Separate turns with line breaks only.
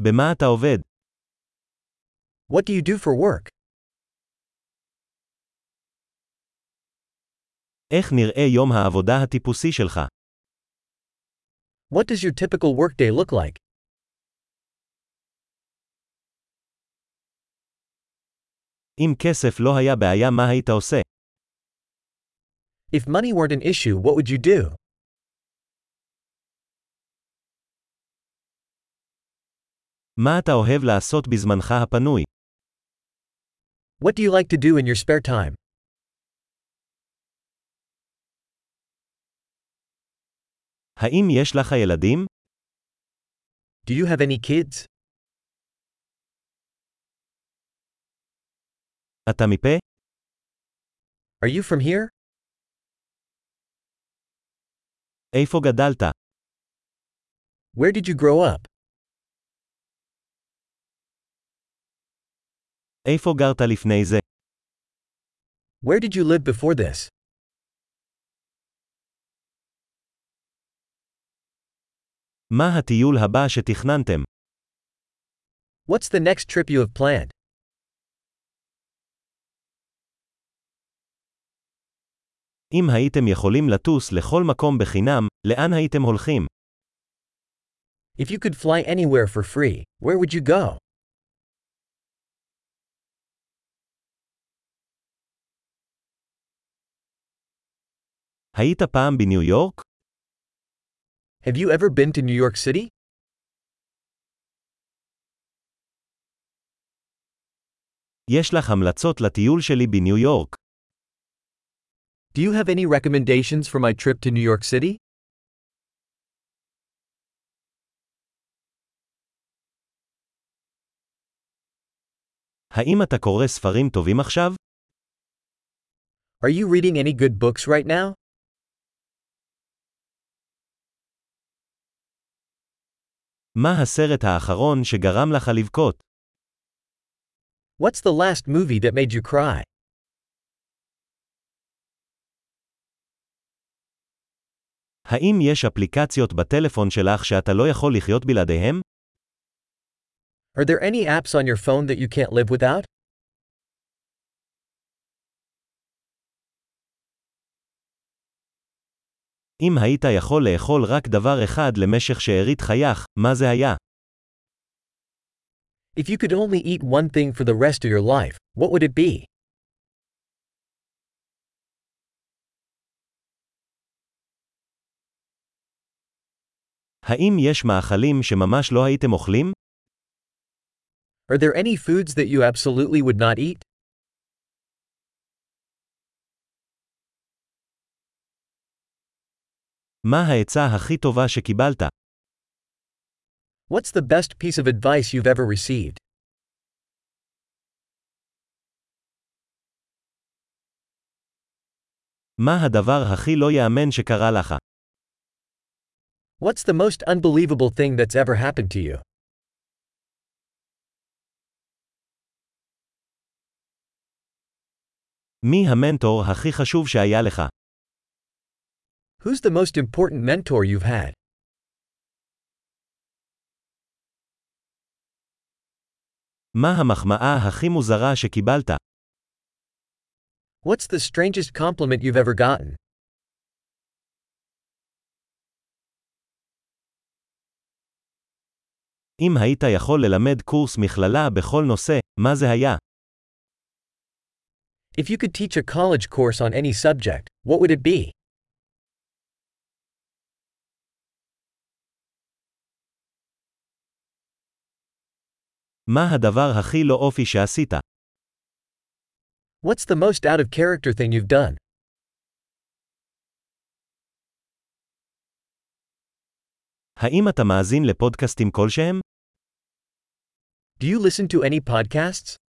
במה אתה עובד?
What do you do for work?
איך נראה יום העבודה הטיפוסי שלך?
What does your typical workday look like?
אם כסף לא היה בעיה, מה היית עושה?
If money weren't an issue, what would you do?
מה אתה אוהב לעשות בזמנך הפנוי?
What do you like to do in your spare time?
האם יש לך ילדים?
Do you have any kids?
אתה מפה?
Are you from here?
איפה גדלת?
Where did you grow up?
איפה גרת לפני זה?
Where did you live before this?
מה הטיול הבא שתכננתם?
What's the next trip you have planned?
אם הייתם יכולים לטוס לכל מקום בחינם, לאן הייתם הולכים?
If you could fly anywhere for free, where would you go?
היית פעם בניו יורק?
Have you ever been to New York City?
יש לך המלצות לטיול שלי בניו יורק.
Do you have any recommendations for my trip to New York City?
האם אתה קורא ספרים טובים עכשיו?
Are you reading any good books right now?
מה הסרט האחרון שגרם לך לבכות?
What's the last movie that made you cry?
האם יש אפליקציות בטלפון שלך שאתה לא יכול לחיות בלעדיהם?
Are there any apps on your phone that you can't live without?
אם היית יכול לאכול רק דבר אחד למשך שארית חייך, מה זה היה?
If you could only eat one thing for the rest of your life, what would it be?
האם יש מאכלים שממש לא הייתם אוכלים?
Are there any foods that you absolutely would not eat?
מה העצה הכי טובה שקיבלת?
What's the best piece of advice you've ever received?
מה הדבר הכי לא ייאמן שקרה לך?
What's the most unbelievable thing that's ever happened to you?
מי המנטור הכי חשוב שהיה לך?
Who's the most important mentor you've had?
מה המחמאה הכי מוזרה שקיבלת?
What's the strangest compliment you've ever gotten?
אם היית יכול ללמד קורס מכללה בכל נושא, מה זה היה?
If you could teach a college course on any subject, what would it be?
מה הדבר הכי לא אופי שעשית?
What's the most out of character thing you've done?
האם אתה מאזין לפודקאסטים כלשהם?
Do you listen to any podcasts?